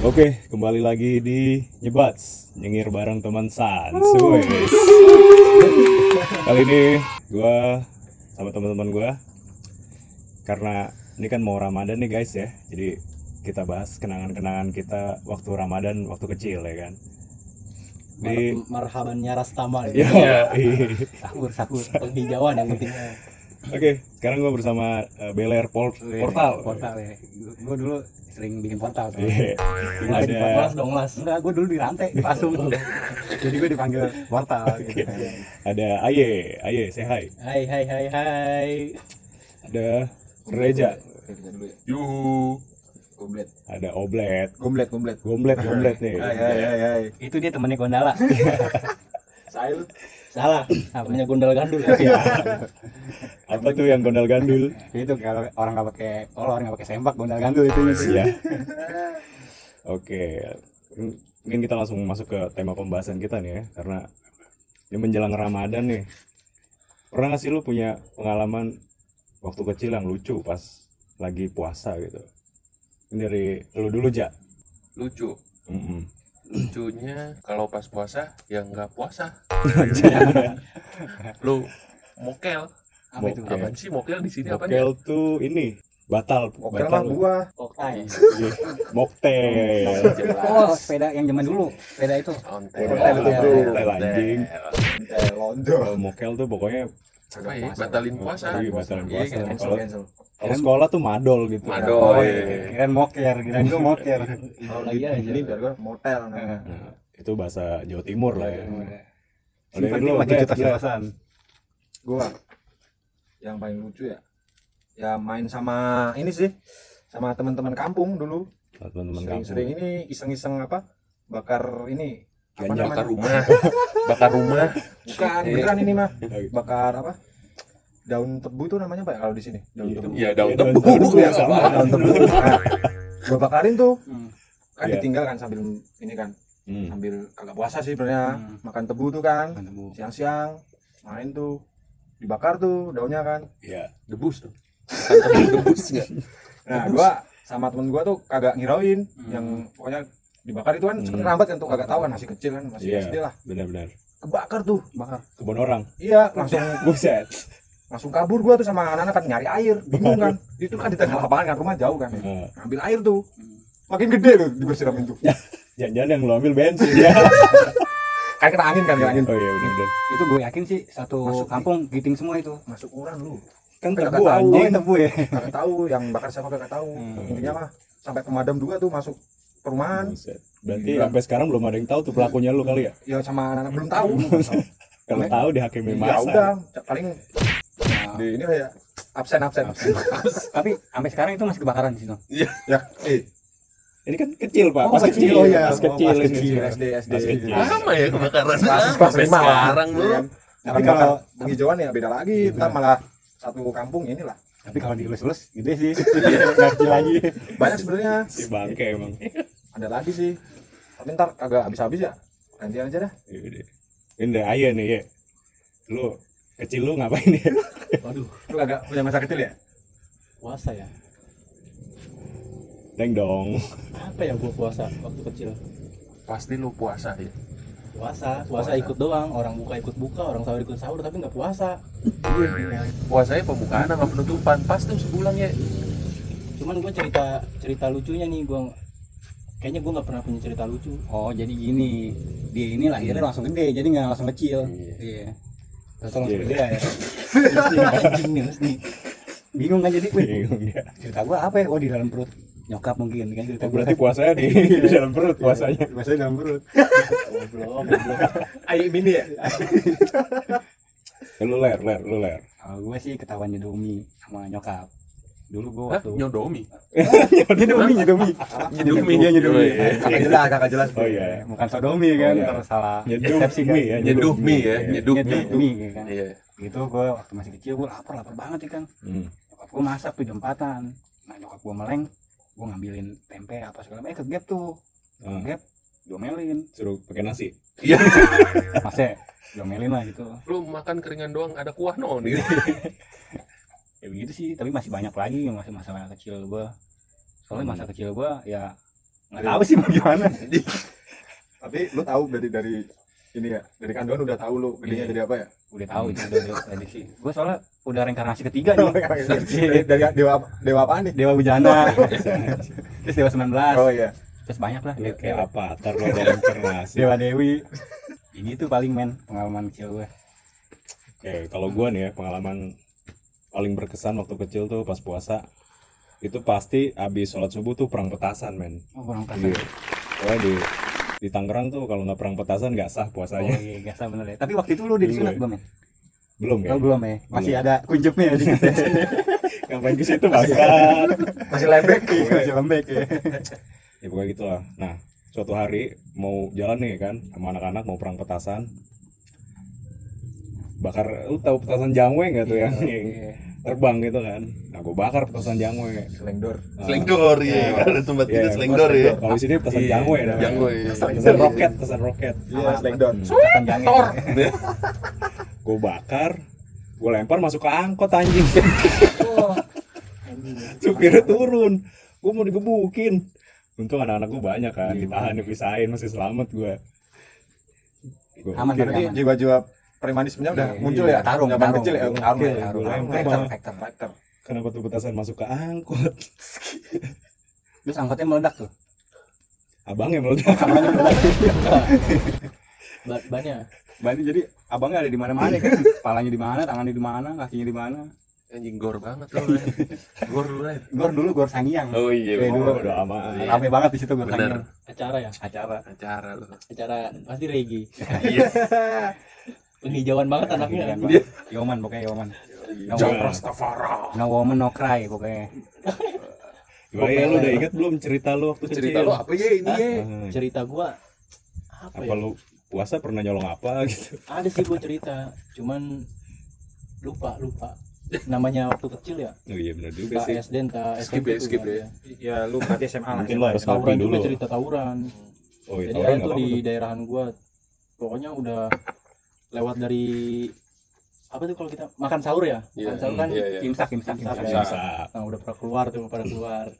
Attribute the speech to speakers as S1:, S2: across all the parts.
S1: Oke, kembali lagi di Nyebats, nyengir bareng teman Sans. Wes. Kali ini gua sama teman-teman gua karena ini kan mau Ramadan nih guys ya. Jadi kita bahas kenangan-kenangan kita waktu Ramadan waktu kecil ya kan. Di
S2: Mar marhabannya Rastama
S3: Iya.
S2: gitu.
S1: Ya.
S2: Sahur sahur penghijauan yang pentingnya.
S1: Oke, sekarang gua bersama eh, Bel Air Pol- Portal.
S3: portal ya gue dulu sering bikin portal tuh
S1: Iya.
S2: Mas
S1: Ada
S2: mas dong mas.
S3: enggak gue dulu di rantai di pasung jadi gue dipanggil portal gitu
S1: ada Aye, Aye say hi.
S2: Hai hai hai hai.
S1: Ada Reja,
S4: Kita dulu ya.
S3: yu
S4: Goblet. Iya,
S1: ada Oblet.
S4: Goblet, goblet.
S1: Gomblet, gomblet nih.
S4: Hai hai hai hai.
S2: Itu dia temannya Gondala.
S4: Sail.
S2: Salah. Namanya Gondal Gandul. Iya.
S1: Apa tuh yang gondal gandul?
S3: itu kalau orang nggak pakai kolor nggak pakai sempak gondal gandul itu
S1: ya. Oke. M- Mungkin kita langsung masuk ke tema pembahasan kita nih ya, karena ini menjelang Ramadan nih. Pernah nggak sih lu punya pengalaman waktu kecil yang lucu pas lagi puasa gitu? Ini dari lu dulu, Ja.
S5: lucu
S1: Mm-mm.
S5: lucunya kalau pas puasa ya nggak puasa lu mokel
S3: apa itu
S1: Oke.
S5: apaan sih mokel di sini Iya, apa nih
S1: Mokel tuh ini batal
S4: Oke
S1: batal
S4: lah gua.
S2: Koktai.
S1: Iya. Moktel.
S3: oh sepeda yang zaman dulu sepeda itu
S5: ontel
S4: Ontel,
S1: Mokel,
S4: ontel.
S1: anjing.
S4: Eh, londo.
S1: Kalau mokel tuh pokoknya
S5: apa ya batalin puasa
S1: Iya, batalin
S5: Iya,
S1: puasa.
S5: kan?
S4: Cancel, cancel.
S1: kalau sekolah tuh madol gitu.
S5: Madol.
S3: oh,
S5: Oh,
S3: iya.
S5: iya.
S3: kirain moker kirain gue moker
S4: Kalau
S2: Lagi
S4: di
S1: Iya,
S2: aja.
S4: ini biar gua motel. kan. namanya.
S1: Nah, itu bahasa Jawa Timur lah ya. Oleh
S3: Simpan
S1: lu,
S3: lagi
S1: Bet,
S3: juta
S1: Bet.
S3: jelasan
S4: Gua yang paling lucu ya. Ya main sama ini sih. Sama teman-teman kampung dulu.
S1: Buat teman-teman kampung.
S4: Sering-sering ini iseng-iseng apa? Bakar ini. Apa
S1: Ganja.
S5: bakar
S4: namanya?
S5: rumah bakar rumah
S4: Bukan,
S5: Iya.
S4: beneran ini mah.
S1: Iya.
S4: Bakar apa? Daun tebu itu namanya Pak kalau di sini. Daun tebu.
S5: ya daun
S1: Iya,
S5: tebu
S4: ya,
S1: sama.
S4: daun tebu. Nah, gua bakarin tuh.
S3: Hmm.
S4: Kan
S1: Iya.
S4: ditinggal kan sambil ini kan
S1: Hmm.
S4: sambil kagak puasa sih sebenarnya
S3: Hmm.
S4: makan tebu tuh kan
S3: Ketemu.
S4: siang-siang main tuh dibakar tuh daunnya kan
S1: Iya.
S5: debus dong Kan tebu debus nggak
S4: nah gua sama temen gua tuh kagak ngirauin yang pokoknya dibakar itu kan
S1: Hmm.
S4: cepet rambat kan tuh kagak tahu kan masih kecil kan masih
S1: Iya.
S4: SD lah
S1: Benar-benar.
S4: kebakar tuh
S3: bakar
S1: Kebun orang.
S4: iya langsung
S1: Buset.
S4: langsung kabur gua tuh sama anak-anak kan nyari air bingung kan itu kan di tengah lapangan kan rumah jauh kan
S1: Nah,
S4: ambil air tuh
S3: Hmm.
S4: makin gede tuh di gua siram itu
S1: jangan-jangan yang lo ambil bensin
S3: Iya.
S1: ya.
S4: kayak kena angin kan kena angin
S1: Oh iya benar-benar.
S3: itu gue yakin sih satu
S4: Masuk nih.
S3: kampung giting semua itu
S4: masuk orang lu
S1: Kan
S4: Kagak
S1: tebu
S4: tahu.
S3: oh
S1: anjing.
S3: tebu ya
S4: kagak tahu yang bakar siapa kagak tahu
S1: Hmm.
S4: intinya mah sampai pemadam juga tuh masuk perumahan
S1: Buset. Berarti
S3: Iya.
S4: Gila.
S1: sampai sekarang belum ada yang tahu tuh pelakunya lu kali ya.
S4: ya sama anak-anak belum tahu
S1: Kalau
S3: Iya.
S1: tahu dihakimi
S4: ya
S1: Hmm. masa.
S4: udah paling
S3: Nah,
S4: di ini kayak absen absen
S3: tapi sampai sekarang itu masih kebakaran di situ
S4: ya eh
S1: Ini kan kecil, Pak.
S3: Oh,
S1: Pas
S3: kecil.
S1: kecil.
S3: Oh, iya.
S1: Pas kecil
S3: Oh,
S1: ini.
S3: pas
S1: Iya.
S3: kecil.
S4: SD SD
S1: Pas kecil.
S5: sama ya kebakaran
S4: kelas kelas
S5: sampai
S4: lima lah.
S5: sekarang
S4: Iya
S5: lu
S4: kan?
S3: Tapi
S4: tapi
S3: kalau-
S4: kalau penghijauan ya beda lagi
S1: Iya.
S4: ntar malah satu kampung inilah
S3: tapi kalau dielus-elus gede sih ngerti lagi
S4: banyak sebenarnya
S1: Si bangke emang.
S4: ada lagi sih tapi ntar kagak habis habis ya nanti aja dah
S1: Iya, iya. Ini dari Aye nih ya. Lu kecil lu ngapain ya?
S2: Waduh.
S4: lu kagak punya masa kecil ya
S2: Puasa ya.
S1: Teng dong.
S2: Apa ya gua puasa waktu kecil?
S5: pasti lu puasa ya
S2: Puasa, puasa
S5: Puasa.
S2: ikut doang. Orang buka ikut buka, orang sahur ikut sahur, tapi nggak puasa.
S3: Iya,
S5: puasanya pembukaan sama penutupan pas tuh sebulan ya
S2: Cuman gua cerita cerita lucunya nih gua kayaknya gua nggak pernah punya cerita lucu. Iya.
S3: oh jadi gini dia ini lahirnya langsung gede jadi nggak langsung kecil iya langsung
S1: Iya.
S3: gede ya
S2: Anjing nih, nih.
S3: bingung kan jadi wih,
S1: Bingung dia.
S3: cerita gua apa ya oh di dalam perut nyokap mungkin kan cerita
S1: Oh,
S3: gua
S1: berarti puasanya di, di dalam perut puasanya.
S3: biasanya dalam perut
S2: Goblok, goblok.
S4: ayo ini ya
S1: Eh, Lu ler, ler, lu ler.
S3: kalau gue sih ketahuan nyedomi sama nyokap dulu gue
S5: Hah?
S3: waktu
S5: nyodomi
S3: nyedomi nyedomi
S5: Nyedomi.
S3: dia nyedomi
S5: Oh, iya.
S4: kagak jelas kagak jelas
S1: Oh iya.
S3: bukan sodomi kan
S1: Oh, iya.
S3: terus salah
S1: Nyeduh
S3: persepsi, kan.
S1: mie ya.
S5: nyeduh mie ya nyeduh
S3: nyeduh
S5: mie
S3: mie kan
S5: iya
S3: itu gue waktu masih kecil gue lapar lapar banget ya kan
S1: Hmm.
S3: nyokap gue masak tuh jam 4-an nah nyokap gue meleng gue ngambilin tempe apa segala macam eh ke gap tuh ke
S1: Ah.
S3: gap diomelin
S1: Suruh pakai nasi.
S5: Iya.
S3: masih diomelin lah gitu
S5: lu makan keringan doang ada kuah non gitu
S3: ya Hmm. begitu sih tapi masih banyak lagi yang masih masalah kecil gue soalnya masa kecil gue ya nggak tahu sih mau gimana
S4: tapi lu tahu dari dari ini ya dari kandungan udah tahu lu gedenya
S3: Iya.
S4: jadi apa ya
S3: udah tahu itu udah udah prediksi gue soalnya udah reinkarnasi ketiga nih
S4: gitu. dari, dari dewa dewa apaan nih
S3: dewa bujana terus dewa 19
S4: oh iya
S3: terus banyak lah
S1: Lu
S3: dewa,
S1: kayak apa? Ntar lu ada internasi.
S3: dewa dewi ini tuh paling men pengalaman kecil gue
S1: Oke, kalau gua nih ya pengalaman paling berkesan waktu kecil tuh pas puasa itu pasti abis sholat subuh tuh perang petasan men.
S3: oh kurang
S1: Di,
S3: kasar
S5: Iya.
S1: pokoknya di di Tangerang tuh kalau nggak perang petasan nggak sah
S3: oh
S1: puasanya.
S3: iya gak salah bener ya tapi waktu itu lu udah
S5: Iya.
S3: disunat belum men
S1: Belum ya?
S3: oh, belum ya masih ada kunjepnya di
S5: Iya.
S1: Ngapain ke situ bangsat?
S4: masih lembek
S3: masih lembek ya
S1: ya pokoknya gitulah nah suatu hari mau jalan nih kan sama anak-anak mau perang petasan bakar lu tahu petasan jangwe nggak tuh yang, yang terbang gitu kan nah gue bakar petasan jangwe
S4: selengdor
S5: Selengdor ya. Ada tempat
S1: Iya,
S5: kita selengdor ya.
S1: kalau di sini petasan
S5: Iya,
S1: jangwe namanya.
S5: jangwe.
S1: petasan roket petasan roket
S4: iya selengdor
S3: panjangnya
S1: gue bakar gue lempar masuk ke angkot anjing supirnya turun gue mau digebukin untung anak-anak gue banyak kan
S5: Iya.
S1: ditahan dipisahin masih selamat gue
S3: aman tapi
S4: berarti
S3: aman
S4: jiwa-jiwa premanismenya udah
S3: Iya,
S4: muncul
S3: iya.
S4: ya
S3: Tarung,
S4: zaman
S3: tarung.
S4: kecil ya
S3: Tarung,
S4: tarung
S3: tarung,
S4: ya, tarung.
S1: tarung.
S4: Vektor,
S3: Tarung.
S4: vektor, vektor.
S1: kenapa tuh petasan masuk ke angkot
S3: terus angkotnya meledak tuh
S1: abangnya meledak
S2: Ba- bannya
S3: Bani jadi abangnya ada di mana-mana kan. Palanya di mana, tangannya di mana, kakinya di mana.
S5: Anjing gor banget lu. Ray. Gor lu. eh. Ray.
S3: Gor dulu gor sangiang.
S5: Oh iya.
S3: Kayak dulu.
S5: bener.
S1: udah aman
S2: Iya.
S3: Rame banget di situ gor
S5: Bener.
S3: sangiang.
S2: acara ya
S3: Acara.
S5: Acara lu.
S2: acara pasti regi
S5: Iya.
S2: penghijauan banget anaknya
S3: Gila, Bang. Yoman pokoknya Yoman. No,
S5: Iya.
S1: Jangan.
S3: woman- no woman no cry pokoknya.
S1: gimana ya lu udah inget belum cerita lu waktu kecil?
S5: Cerita lu apa ya ini ya?
S1: Ah,
S2: cerita gua apa,
S1: apa
S2: ya
S1: lu puasa pernah nyolong apa gitu
S2: ada sih gua cerita cuman lupa lupa namanya waktu kecil ya
S1: oh iya benar juga
S2: entah
S1: sih
S2: SD entah
S5: Skip
S2: SMP
S5: ya, skip
S2: juga
S5: ya.
S2: ada.
S4: ya lu berarti SMA lah
S1: mungkin lu
S3: ya.
S1: harus
S2: gitu kan. tawuran
S1: ngapin
S2: juga
S1: dulu
S2: cerita tawuran
S1: oh iya
S2: Jadi
S1: tawuran
S2: ada
S1: nggak
S2: tuh
S1: apa-apa
S2: di
S1: tuh.
S2: daerahan gua pokoknya udah lewat dari apa tuh kalau kita makan sahur ya
S5: Iya.
S2: makan sahur kan
S5: Iya, iya.
S3: Imsak imsak imsak.
S2: Imsak,
S5: imsak.
S1: Bisa.
S2: nah udah pada keluar tuh pada keluar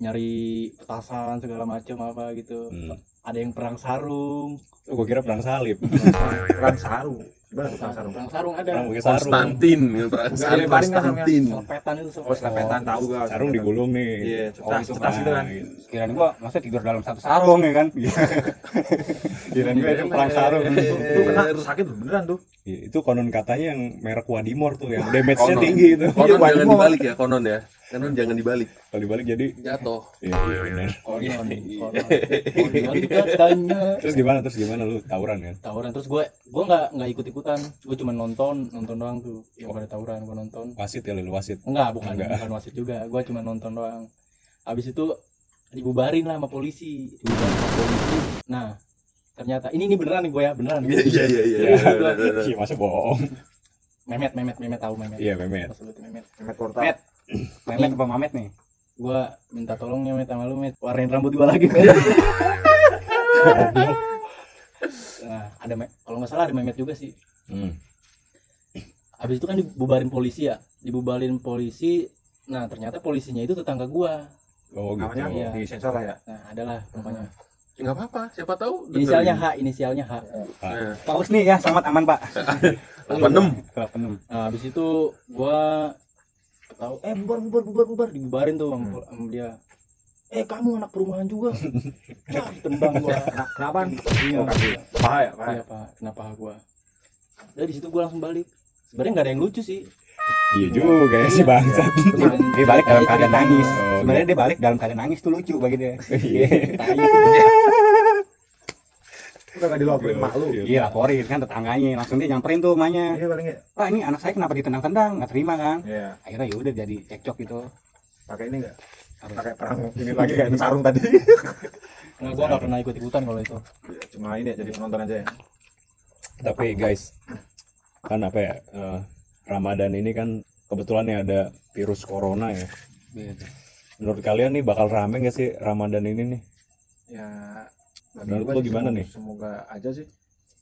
S2: nyari petasan segala macam apa gitu
S1: Hmm.
S2: ada yang perang sarung
S1: Oh, gua kira perang salib.
S4: perang sarung gimana tuh perang
S2: perang,
S4: sarung
S2: perang sarung ada
S1: Perang pakai sarung.
S5: Konstantin,
S4: Iya,
S5: perasaan
S4: paling nggak
S5: Konstantin.
S2: selepetan itu
S4: oh selepetan tahu gak
S1: Sarung digulung nih.
S4: iya cetas
S3: itu
S4: cetas gitu kan
S1: Nah, gitu.
S3: Kirain gua masa tidur dalam satu sarung ya kan. Kirain gua itu perang sarung.
S4: iya,
S5: Iya.
S4: lu kena sakit beneran tuh
S1: Iya, Itu konon katanya yang merek Wadimor tuh yang damage-nya
S5: Konon.
S1: tinggi itu.
S5: Konon
S4: Iya,
S5: jangan
S4: Wadimor.
S5: dibalik ya, konon ya. Konon jangan dibalik.
S1: Kalau dibalik jadi
S5: Jatuh.
S1: iya iya, benar.
S2: konon
S4: Iya.
S2: konon konon katanya
S1: Terus gimana? Terus gimana lu tawuran kan?
S2: tawuran terus gue gue nggak nggak ikut ikutan gue cuma nonton nonton doang tuh yang pada tawuran gue nonton
S1: Wasit ya lu wasit.
S2: enggak bukan
S1: Enggak.
S2: bukan wasit juga gue cuma nonton doang habis itu dibubarin lah sama polisi dibubarin sama polisi nah ternyata ini ini beneran nih gue ya beneran
S5: Iya iya iya iya.
S1: Iya.
S5: Bener, bener, bener.
S1: Iya, masa bohong.
S2: memet memet memet tahu memet
S1: Iya, Memet.
S2: Pas sebutin memet
S4: Mehmet Portal
S3: Met. Memet apa Mamet nih?
S2: gue minta tolongnya met sama lu met warnain rambut gue lagi met nah ada Met- kalau nggak salah ada memet juga sih
S1: Hmm.
S2: Habis itu kan dibubarin polisi ya. Dibubarin polisi. Nah, ternyata polisinya itu tetangga gua.
S1: Oh gitu.
S4: namanya
S2: Iya.
S4: di sensor lah ya
S2: Nah, adalah pokoknya.
S5: Ya, Nggak apa-apa, siapa tahu. dengerin.
S2: Inisialnya H, inisialnya H.
S5: Nah,
S3: Pak Husni ya, selamat aman Pak.
S5: 86.
S3: Kelab enam.
S2: Nah, habis itu gua tahu eh bubar bubar bubar bubar dibubarin tuh sama pol- sama dia. Eh, kamu anak perumahan juga. Wah, tendang gua.
S4: Kena- kenapa
S2: Iya,
S4: paha ya paha
S2: iya, Pak. Kenapa gua? Dari situ gua langsung balik. Sebenarnya nggak ada yang lucu sih.
S1: Iya juga ya si bangsat.
S3: Dia balik
S2: Iya,
S3: dalam keadaan nangis.
S1: Oh,
S3: Sebenarnya dia balik dalam keadaan nangis tuh lucu bagi dia. Iya,
S4: udah gak dilaporin mak lu
S1: Iya.
S3: Iya laporin kan tetangganya langsung dia nyamperin tuh emaknya
S4: iya paling ya
S3: Pak ini anak saya kenapa ditendang-tendang nggak terima kan
S4: iya
S3: akhirnya ya udah jadi cekcok gitu
S4: pakai ini enggak
S3: Apa?
S4: pakai perang ini lagi kayak yang sarung tadi
S2: Nah, gua nggak pernah ikut-ikutan kalau itu.
S4: Iya, cuma ini ya jadi penonton aja ya
S1: Tapi guys, kan apa ya? eh, Ramadan ini kan kebetulan ya ada virus corona ya. Menurut kalian nih bakal rame gak sih Ramadan ini nih?
S4: ya bagi
S1: Menurut
S4: gua
S1: lu
S4: sih,
S1: gimana
S4: semu-
S1: nih?
S4: semoga aja sih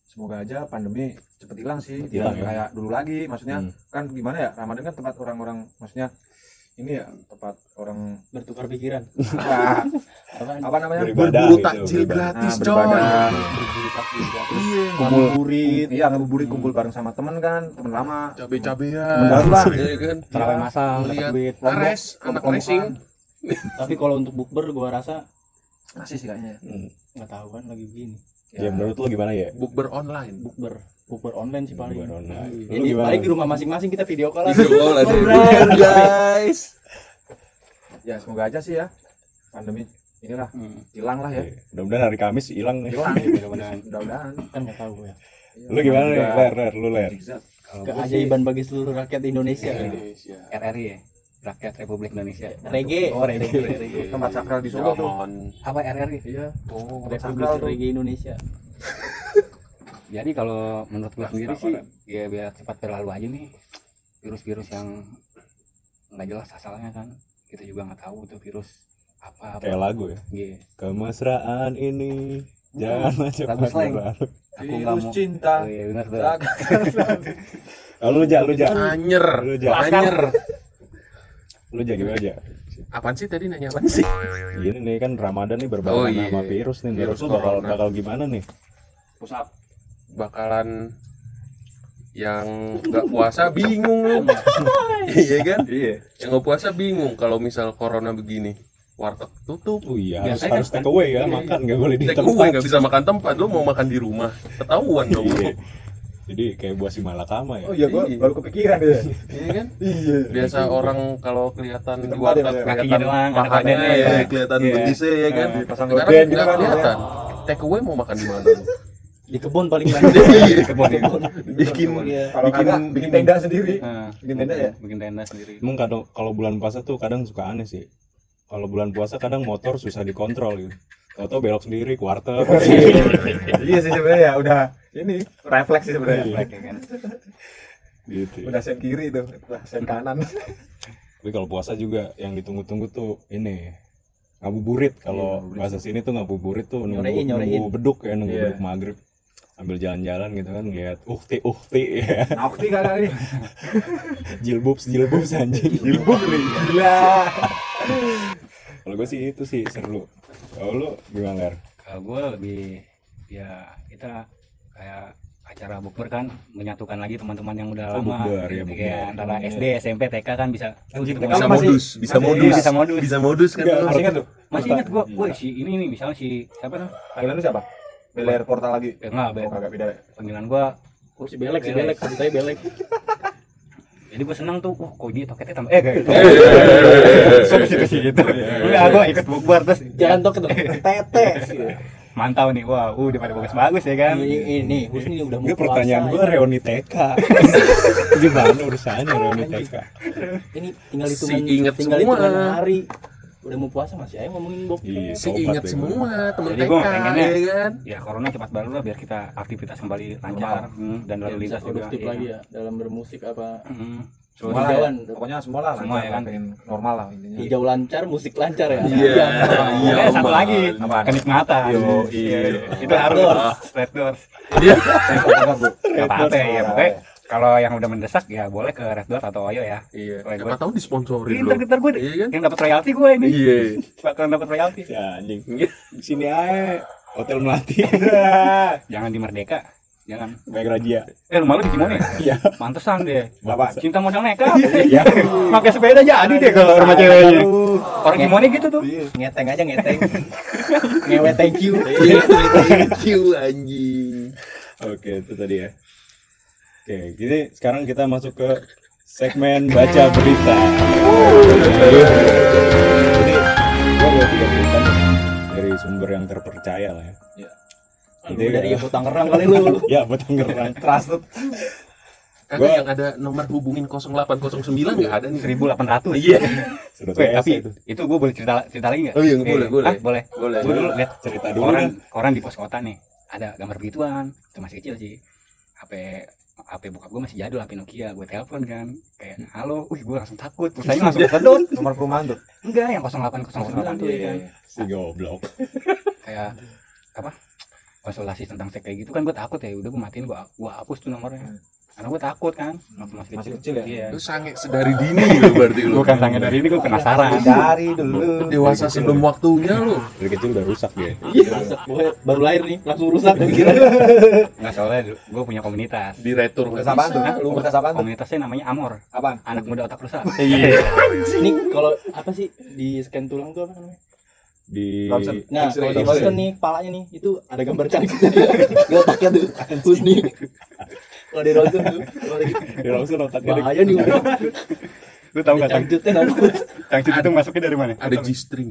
S4: semoga aja pandemi cepet hilang sih
S1: Cepet hilang
S4: Jangan
S1: ya.
S4: kayak dulu lagi maksudnya
S1: Hmm.
S4: kan gimana ya Ramadan kan tempat orang-orang maksudnya ini ya tempat orang
S2: bertukar pikiran
S4: apa,
S2: apa
S4: apa namanya
S1: Beribadah
S5: berburu
S1: gitu,
S5: takjil
S1: beribadah.
S5: gratis
S4: Nah,
S5: coy
S4: beribadah.
S5: iya
S4: ngabuburit iya ngabuburit kumpul bareng sama temen kan temen lama
S5: cabe-cabean
S4: Temen baru lah.
S5: Iya kan
S3: Terawih masal, dapat
S5: lihat
S3: duit.
S5: Ares anak
S4: kelompok-kelompokan.
S5: racing
S2: tapi kalau untuk bukber gua rasa
S4: masih sih kayaknya ya.
S1: Hmm.
S2: nggak tahu kan lagi begini
S1: Ya
S4: Iya,
S1: menurut lu gimana ya?
S5: bukber online
S2: bukber bukber online sih paling
S1: Bukber online.
S2: Iya.
S1: Lu
S2: jadi
S1: gimana?
S2: paling di rumah masing-masing kita video call aja.
S5: Video call aja.
S2: Bukber.
S4: guys ya semoga aja sih ya pandemi inilah
S2: Hmm,
S4: hilang lah ya
S1: Iya. Mudah-mudahan hari Kamis hilang
S5: Ya.
S1: nih.
S4: hilang
S2: mudah-mudahan.
S4: mudah-mudahan
S2: kan nggak tahu ya
S1: Lu gimana
S5: Ya.
S1: nih?
S4: Juga.
S1: Ler, ler, lu ler.
S4: Zigzag.
S2: keajaiban bagi seluruh rakyat Indonesia
S5: Indonesia
S3: RRI ya rakyat Republik Indonesia
S2: Iya. reggae
S3: oh reggae
S4: tempat sakral di Solo tuh
S5: zaman
S3: apa RRI
S4: iya
S3: oh
S4: tempat
S2: Republik
S4: sakral tuh
S2: Reggae Indonesia
S3: jadi kalau menurut gue sendiri sih
S1: Rastafaran.
S3: ya biar cepat berlalu aja nih virus-virus yang nggak jelas asalnya kan kita juga nggak tahu tuh virus apa apa
S1: Kayak lagu ya.
S3: Iya.
S1: Kemesraan ini
S5: Ya.
S1: jangan cepat
S3: lagu slang.
S1: berlalu.
S3: aku nggak
S4: virus
S3: mau
S4: cinta
S3: Oh, iya benar tuh
S1: Ah, Lu ja, lu ja.
S5: anyer
S1: Lu ja.
S5: anyer
S1: Lu ja gimana aja?
S5: apaan sih tadi nanya apaan sih
S1: Ini nih kan Ramadan nih
S5: Oh,
S1: berbarengan
S5: iya.
S1: sama virus nih. Menurut
S5: Virus
S1: lu bakal
S5: corona.
S1: bakal gimana nih?
S4: pusat
S5: bakalan yang nggak puasa bingung lu iya kan
S4: iya
S5: yang nggak puasa bingung kalau misal corona begini warteg tutup
S1: Oh iya, harus,
S3: Biasanya
S1: harus take away ya,
S5: Iya,
S1: makan nggak boleh di
S5: Take
S1: tempat.
S5: away nggak bisa makan tempat lu mau makan di rumah ketahuan dong
S1: Iya. Jadi kayak buah si malakama ya.
S4: oh iya gua
S5: Iya.
S4: baru kepikiran ya
S5: iya kan
S4: iya
S5: biasa orang kalau kelihatan di
S4: tempat ya,
S5: warteg
S4: Mas, ya.
S5: kelihatan
S3: Kakinya doang,
S5: makanannya
S3: kadang-kadang
S5: ya,
S3: ya.
S5: kelihatan
S3: Iya.
S5: betisnya ya kan
S4: pasang
S5: sekarang
S4: gorden gitu
S5: nggak
S4: kan ya.
S5: kelihatan take away mau makan di mana lu?
S2: di kebun paling banyak
S5: Iya.
S2: kebun
S5: bikin
S2: Iya.
S4: kalau
S5: bikin
S4: kagak bikin tenda sendiri
S3: bikin
S4: tenda ya?
S3: bikin tenda sendiri
S1: Emang kadang kalau bulan puasa tuh kadang suka aneh sih. Kalau bulan puasa kadang motor susah dikontrol gitu. Tahu-tahu belok sendiri ke warteg.
S4: iya sih sebenarnya ya udah ini refleks sih sebenarnya
S1: gitu.
S4: udah sen kiri tuh udah sen kanan
S1: Tapi kalau puasa juga yang ditunggu-tunggu tuh ini ngabuburit kalau bahasa sini tuh ngabuburit tuh nunggu,
S2: Nyorein, nyorein.
S1: nunggu beduk ya nunggu
S4: Iya.
S1: beduk maghrib ambil jalan-jalan gitu kan lihat uhti uhti ya.
S4: Nafti kagak ini
S1: jilbubs jilbubs anjing
S4: jilbab nih gila
S1: kalau gue sih itu sih seru kalau lu gimana Ler?
S3: kalau gue lebih ya kita kayak acara bukber kan menyatukan lagi teman-teman yang udah
S1: Oh,
S3: lama
S1: bukber, ya, bukber.
S3: Iya, antara SD SMP TK kan bisa
S1: Anjing,
S3: ketemu
S5: bisa
S4: Kamu
S3: sama-
S4: masih-
S5: modus bisa
S4: masih-
S5: modus
S3: bisa modus.
S5: bisa modus kan
S1: Nggak,
S5: lu?
S1: harus-
S4: ingat tuh
S3: masih ingat gue gue si ini nih misalnya si siapa tuh
S4: panggilan lu siapa Beler Portal lagi
S3: ya, enggak
S4: oh kagak beda ya
S3: panggilan gue
S2: si belek si belek si belek
S3: jadi gue senang tuh wah kok dia toketnya tambah eh kayak gitu enggak gue ikut bukber terus Ya,
S2: jalan tok itu tete
S3: mantau nih wah udah pada bagus-bagus ya kan
S2: ini ini Husni udah mau
S1: Gue pertanyaan gue reuni TK Gimana urusannya reuni TK
S2: ini tinggal
S5: Si
S2: hitungan
S5: inget
S2: tinggal
S5: semua.
S2: hitungan hari udah mau puasa masih aja ngomongin bokep
S1: Iya,
S5: si
S1: tobat
S5: ingat
S1: deh gua.
S5: semua temen
S3: Jadi
S5: TK
S3: gua
S5: ya
S3: pengennya-
S5: kan
S3: ya corona cepat baru lah biar kita aktivitas kembali lancar hmm, dan
S2: Ya,
S3: lalu
S2: bisa
S3: lintas juga
S2: produktif
S3: iya.
S2: lagi ya dalam bermusik apa
S3: Hmm.
S4: semua lah
S2: Jalan.
S4: ya. pokoknya semua lah
S3: Semua ya
S4: lancar lah,
S3: kan?
S4: pengen normal lah intinya
S2: hijau lancar musik lancar ya
S5: iya iya
S3: Oke, satu
S5: Om.
S3: lagi
S4: Apaan?
S3: kenikmatan
S5: iya.
S3: itu harus red doors
S5: Iya.
S3: Gak apa-apa ya pokoknya kalau yang udah mendesak ya boleh ke red doors atau oyo ya
S5: Iya.
S3: Kayak
S5: Siapa
S3: gua-
S5: tahu disponsorin
S3: Ini
S5: lu.
S3: ntar ntar gue
S5: Iya kan?
S3: yang dapat royalti gue ini
S5: Iya.
S3: bakalan dapat royalti
S1: Ya anjing Sini aja Hotel Melati
S3: jangan di merdeka
S5: Iya.
S3: jangan
S1: Baik Rajia
S3: eh lu malu di Cimone
S1: Iya.
S3: mantesan deh
S1: Bapak
S3: cinta modal
S5: Iya.
S3: nekat ya pakai sepeda jadi deh kalau rumah ceweknya orang Cimone gitu tuh
S2: ngeteng aja ngeteng ngewe thank you
S5: Iya, thank you anjing.
S1: Oke itu tadi ya Oke jadi sekarang kita masuk ke segmen baca berita Jadi gue bawa tiga berita nih, dari sumber yang terpercaya lah ya
S3: Iya.
S5: Iya.
S1: Nanti,
S2: dari
S1: eh,
S2: ibu Tangerang kali lu
S1: Ya buat Tangerang Trusted
S5: Kagak
S1: Gua-
S5: yang ada nomor hubungin 0809 enggak ada nih.
S3: 1800
S5: Iya.
S1: Sudah ya,
S3: Weh,
S1: biasa
S3: tapi
S1: itu
S3: itu gue boleh cerita cerita lagi nggak?
S5: Oh iya, boleh,
S3: Eh,
S5: boleh.
S3: ah, boleh.
S5: Boleh.
S3: Gue dulu lihat
S1: Cerita dulu kan,
S3: koran
S1: dah.
S3: koran di pos kota nih ada gambar begituan itu masih kecil sih. HP HP bokap gue masih jadul HP Nokia gue telepon kan kayak halo, wih gue langsung takut pulsanya langsung sedot
S4: nomor perumahan tuh
S3: enggak yang 0809 tuh ya kan
S1: Si goblok
S3: kayak apa konsultasi tentang seks kayak gitu kan gue takut ya udah gue matiin gue gue hapus tuh nomornya karena gue takut kan waktu masih,
S4: Masih kecil
S3: kecil,
S4: ya?
S3: Iya.
S5: Lu sange sedari dini lu berarti lu.
S3: gue kan sange dari ini gue penasaran
S4: dari dulu
S5: Dewasa sebelum waktunya lu.
S1: dari kecil udah rusak dia
S2: Iya, rusak. Gua baru lahir nih, langsung rusak gua kira.
S3: nggak soalnya gue punya komunitas
S5: Diretur
S4: Komunitas apaan tuh? Lu komunitas apaan tuh?
S3: komunitasnya namanya Amor
S4: Apaan?
S3: anak muda otak rusak
S2: Ini kalau apa sih di scan tulang tuh apa namanya?
S1: di
S4: Thompson.
S2: Nah,
S4: X-ray,
S2: kalau di
S4: X-ray.
S2: Boston nih, palanya nih, itu ada gambar cantiknya dia. Di otaknya tuh, Husni. Kalau di Ronson tuh, kalau di-
S1: di langsung otaknya
S2: bahaya nih.
S3: lu tau gak
S2: Enggak
S3: cang
S2: cangcutnya nanti.
S3: cangcut itu masuknya dari mana
S5: ada G-string.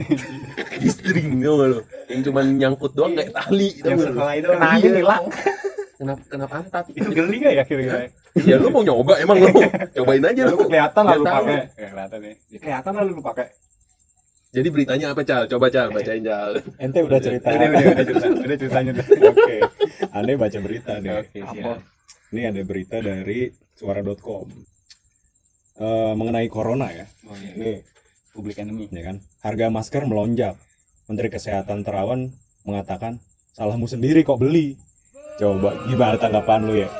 S5: G-string tau gak lu? Yang cuman nyangkut doang kayak tali tau
S3: yang
S5: gak lu?
S3: setelah itu
S5: Kena
S3: iya.
S5: angin hilang. Kenapa kenapa pantat?
S3: itu geli gak ya kira-kira
S5: Ya lu mau nyoba emang lu. Cobain aja
S3: lu
S5: lu.
S3: kelihatan lah
S5: Nggak
S3: lu
S5: tahu.
S3: pakai Ya, kelihatan ya Ya, kelihatan lah lu pakai
S5: Jadi beritanya apa Cal? Coba Cal, bacain Cal.
S1: ente
S3: Iya,
S1: udah cerita
S3: udah udah udah cerita udah ceritanya tuh
S1: oke aneh baca berita deh
S3: oke siap
S1: ini ada berita dari suara.com Eh, mengenai corona ya
S3: Oh, iya.
S1: ini
S3: public enemy
S1: ya kan harga masker melonjak Menteri Kesehatan Terawan mengatakan salahmu sendiri kok beli coba gimana tanggapan lu ya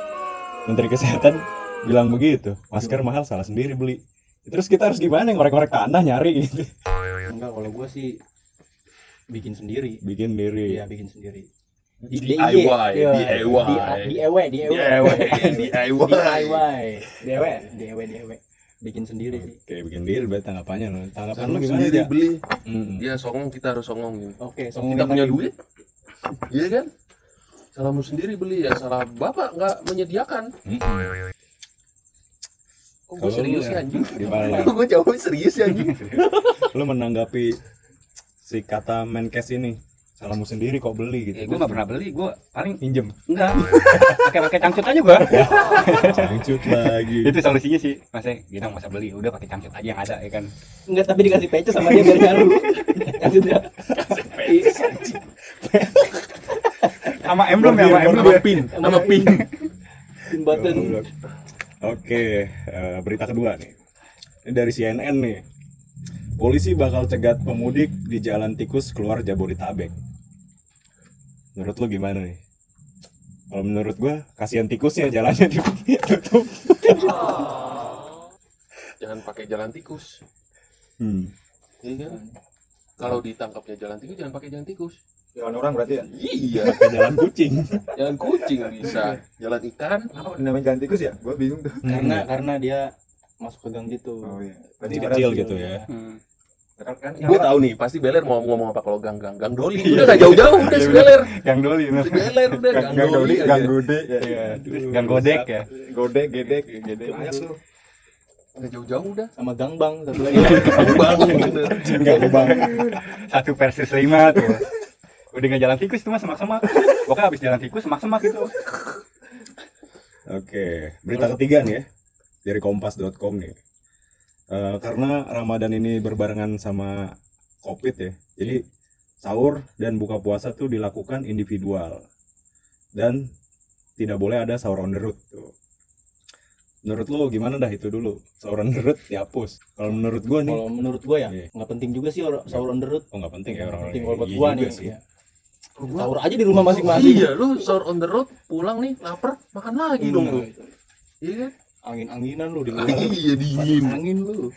S1: Menteri Kesehatan bilang begitu masker mahal salah sendiri beli terus kita harus gimana ngorek-ngorek tanah nyari gitu
S2: Enggak, kalau gua sih bikin sendiri.
S1: bikin diri
S2: Iya, bikin sendiri.
S5: DIY,
S2: Iya.
S5: DIY.
S2: Di- DIY, DIY.
S5: DIY.
S2: DIY. DIY, DIY, DIY. Bikin sendiri sih.
S1: Oke, bikin diri berarti tanggapannya lu. Tanggapan lu
S5: Lu
S1: gimana
S5: sendiri
S1: ya?
S5: beli. Dia songong kita harus songong gitu.
S2: Oke, sombongin
S5: Kita punya
S2: lagi.
S5: duit. Iya kan? Salahmu sendiri beli ya, salah bapak nggak menyediakan. Kok gue
S1: Kalau
S5: serius
S1: lu
S5: ya
S1: ya?
S5: anjing?
S1: Gimana, Lan?
S5: Kok gue jawab serius ya anjing?
S1: Lu menanggapi si kata Menkes ini, salahmu sendiri kok beli gitu.
S3: ya gue gak pernah beli gue paling
S1: pinjem.
S3: enggak pakai pakai cangcut aja gue
S1: Cangcut lagi.
S3: itu solusinya sih masnya kita nggak usah beli udah pakai cangcut aja yang ada ya kan
S2: Enggak, tapi dikasih patches sama dia biar nyaru. Kasih dia. Iya.
S3: sama emblem ya sama emblem ya
S5: pin, sama pin.
S2: Pin button.
S1: Oke, eh, berita kedua nih. Ini dari CNN nih. Polisi bakal cegat pemudik di Jalan Tikus keluar Jabodetabek. Menurut lu gimana nih? Kalau menurut gua kasihan tikusnya jalannya ditutup.
S5: Jangan pakai jalan tikus.
S1: Hmm.
S5: Iya kan? Kalau ditangkapnya jalan tikus jangan pakai jalan tikus.
S4: Jalan orang berarti ya?
S5: Iya,
S1: Ke jalan kucing.
S5: jalan kucing bisa, jalan ikan.
S4: Kenapa dinamain jalan tikus ya? Gua bingung tuh.
S2: Karena
S1: Hmm.
S2: karena dia masuk ke gang gitu.
S1: Oh.
S4: iya. Berarti
S1: Masih
S4: berarti-
S1: kecil gitu ya.
S3: Hmm.
S4: Kan kan
S5: Gue tahu nih, pasti Beler mau ngomong apa kalau gang gang gang doli. Udah gak jauh-jauh udah si Iya, Beler.
S3: gang doli bener.
S5: Si Beler udah
S4: kan,
S5: gang doli. aja.
S4: gode ya.
S3: gang godek ya
S4: Gode, gedek, gedek. Banyak tuh.
S5: Nggak jauh-jauh udah.
S2: Sama gang bang satu lagi.
S5: Bangun bener.
S1: Enggak lubang.
S3: satu versus lima tuh udah nggak jalan tikus tuh mas semak semak pokoknya habis jalan tikus semak semak gitu
S1: Oke, berita ketiga nih ya dari kompas.com nih. Eh, karena Ramadan ini berbarengan sama Covid ya. Jadi sahur dan buka puasa tuh dilakukan individual. Dan tidak boleh ada sahur on the road tuh. Menurut lo gimana dah itu dulu? Sahur on the road dihapus. Kalau menurut gua nih
S2: Kalau menurut gua ya,
S1: Iya.
S2: nggak penting juga sih or- sahur on the road.
S1: Oh nggak penting ya orang-orang
S2: Penting
S1: yang
S2: kalau buat
S1: iya
S2: gua
S1: juga
S2: nih.
S1: sih.
S2: Iya. Sahur aja di rumah masing-masing.
S5: Iya, lu sahur on the road, pulang nih lapar, makan lagi dong lu. Iya. kan?
S2: Angin-anginan lu di luar.
S5: Iya dingin.
S2: Angin lu.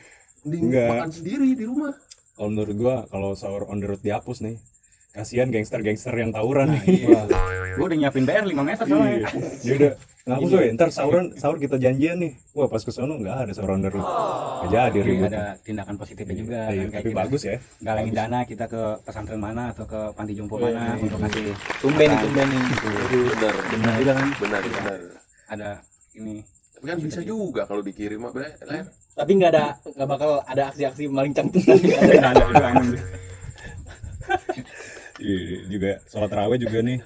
S5: Di,
S1: Enggak.
S5: makan sendiri di rumah.
S1: Kalau menurut gua kalau sahur on the road dihapus nih, kasihan gangster-gangster yang
S2: Nah,
S1: tawuran nih.
S2: iya.
S3: gue udah nyiapin BR 5 meter soalnya
S1: Ya udah, ngaku coy, ntar sahuran sahur kita janjian nih. Wah, pas ke sono enggak ada sahur under. Enggak jadi
S3: Jadi
S1: ribut.
S3: Oh, Iya, ada tindakan positifnya juga
S1: Iya,
S3: kan, kayak
S1: tapi
S3: kita
S1: bagus ya.
S3: galangin dana kita ke pesantren mana atau ke panti
S1: Iya,
S3: jompo mana untuk kasih
S2: Tumben tumben nih.
S5: Bener.
S3: benar juga kan
S5: Benar, benar.
S3: ada ini
S5: Tapi kan bisa juga kalau dikirim mah, Beler.
S2: Tapi nggak ada nggak bakal ada aksi-aksi maling cangcutan.
S3: ada bilangan.
S1: Iya, juga sholat tarawih juga nih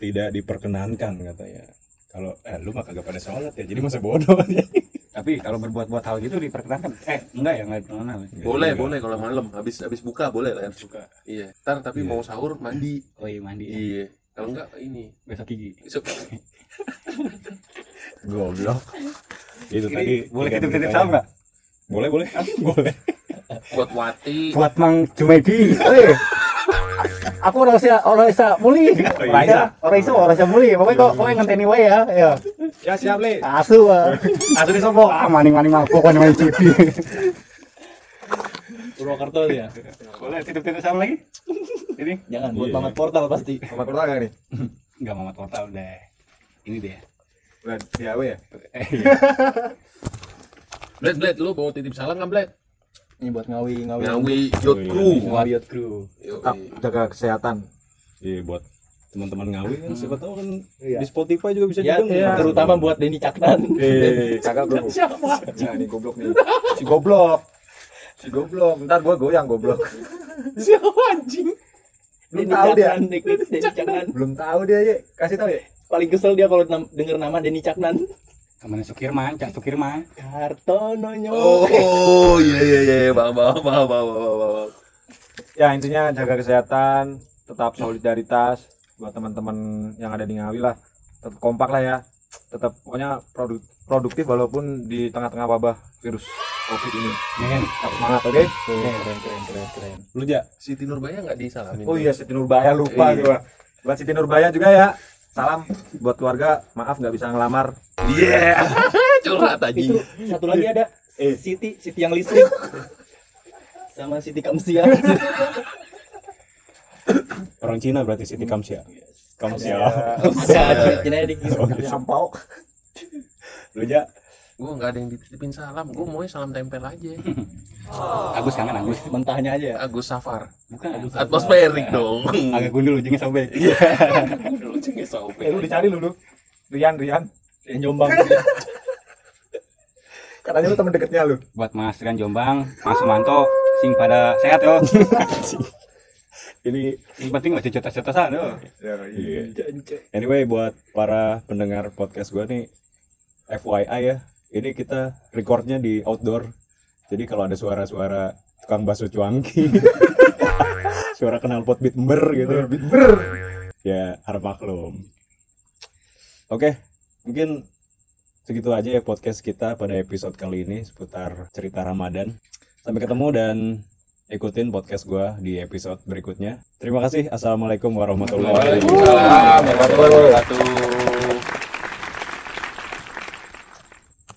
S1: tidak diperkenankan katanya. Kalau eh, lu mah kagak pada sholat ya, jadi masa bodoh aja.
S3: tapi kalau berbuat-buat hal gitu diperkenankan eh enggak ya enggak diperkenankan
S1: Iya.
S5: Boleh,
S1: Enggak.
S5: boleh kalau malam habis habis buka boleh lah. Buka. Iya. Ntar tapi mau sahur mandi.
S3: oh iya mandi
S5: Iya. Kalau enggak ini
S3: besok gigi
S5: besok
S1: Goblok. Itu tadi.
S3: Ini boleh
S1: tiga
S3: kita titip
S1: beritanya.
S3: salam nggak
S1: Boleh, boleh. boleh.
S5: buat wati.
S3: buat Mang Jumedi Oh, iya. aku orang Asia orang Asia muli
S4: Iya.
S1: Orang Asia.
S3: orang Asia orang Asia muli pokoknya kok pokoknya ngenteni wae ya ya
S4: Ya siap, Le.
S3: Asu, Pak.
S4: Asu di sopo.
S3: Ah, maning-maning mabok kan main judi.
S2: Purwokerto tuh ya
S3: Boleh titip-titip sama lagi? Ini
S2: jangan buat
S1: Iya.
S2: banget portal pasti
S4: Sama kota gak nih?
S3: enggak mamat total udah. Ini deh.
S4: Udah di AW ya?
S3: Eh, iya.
S5: Bled, Bled, lu bawa titip salam nggak, Bled?
S2: ini buat ngawi ngawi
S5: Ngawi Ah. Yacht Crew.
S2: ngawi yacht crew
S4: Tetap jaga kesehatan.
S1: Iya buat teman-teman ngawi
S3: Hmm.
S1: kan siapa tahu kan
S2: Iya.
S1: di Spotify juga bisa
S2: ya,
S1: didengar.
S2: ya, terutama buat Denny
S3: Iya,
S2: Caknan
S4: Iya.
S1: eh
S4: Kagak bro. Siapa? Ya ini goblok nih. Si goblok. Si goblok. Ntar gua goyang goblok.
S2: siapa anjing
S4: Belum tahu dia.
S2: Caknan, Nick, Nick, Denny Caknan
S4: Belum tahu dia, Ye. Kasih tahu, Ye.
S2: paling kesel dia kalau nam- denger nama Denny Caknan
S3: Temen Sukirman, Cak Sukirman.
S2: Kartono nyo
S5: Oh, iya iya iya, bang, bang, bang, bang, bang, bang.
S4: Ya, intinya jaga kesehatan, tetap solidaritas buat teman-teman yang ada di Ngawi lah. Tetap kompak lah ya. Tetap pokoknya produ- produktif walaupun di tengah-tengah wabah virus Covid ini.
S3: Men,
S4: Tetap semangat, oke?
S2: keren keren keren keren
S3: iya.
S1: lu ja
S5: Siti Nurbaya nggak disalamin?
S4: Oh iya Siti Nurbaya lupa gua. Buat Siti Nurbaya juga ya. Salam buat keluarga. Maaf nggak bisa ngelamar.
S5: Yeah, curhat aja.
S2: itu satu lagi ada Siti Siti yang listrik sama Siti Kamsia
S1: orang Cina berarti Siti Kamsia. Kamsia.
S2: Kamsia Junaidi
S4: Sampau.
S1: Lu ja
S5: Gue nggak ada yang dititipin salam, gue mau salam tempel aja.
S3: Agus kangen Agus.
S2: mentahnya aja
S5: Agus Safar,
S3: Bukan.
S5: atmosferik dong.
S3: Agak gundul ujungnya sobek.
S5: Lu cengeng sobek.
S4: Eh lu dicari lu Eh, lu. Rian Rian.
S2: yang jombang
S4: Katanya lu temen deketnya lu.
S3: Buat Mas Rian Jombang, Mas Sumanto, sing pada sehat yo.
S1: ini
S3: Yang penting nggak cecotas-cecotasan yo.
S1: iya. Anyway buat para pendengar podcast gua nih FYI ya, ini kita recordnya di outdoor. Jadi kalau ada suara-suara tukang bakso cuangki, suara knalpot beat ber gitu. Ya, harap maklum. Oke, mungkin segitu aja ya podcast kita pada episode kali ini seputar cerita Ramadan. Sampai ketemu dan ikutin podcast gua di episode berikutnya. Terima kasih. Assalamualaikum warahmatullahi wabarakatuh.
S5: Waalaikumsalam warahmatullahi wabarakatuh.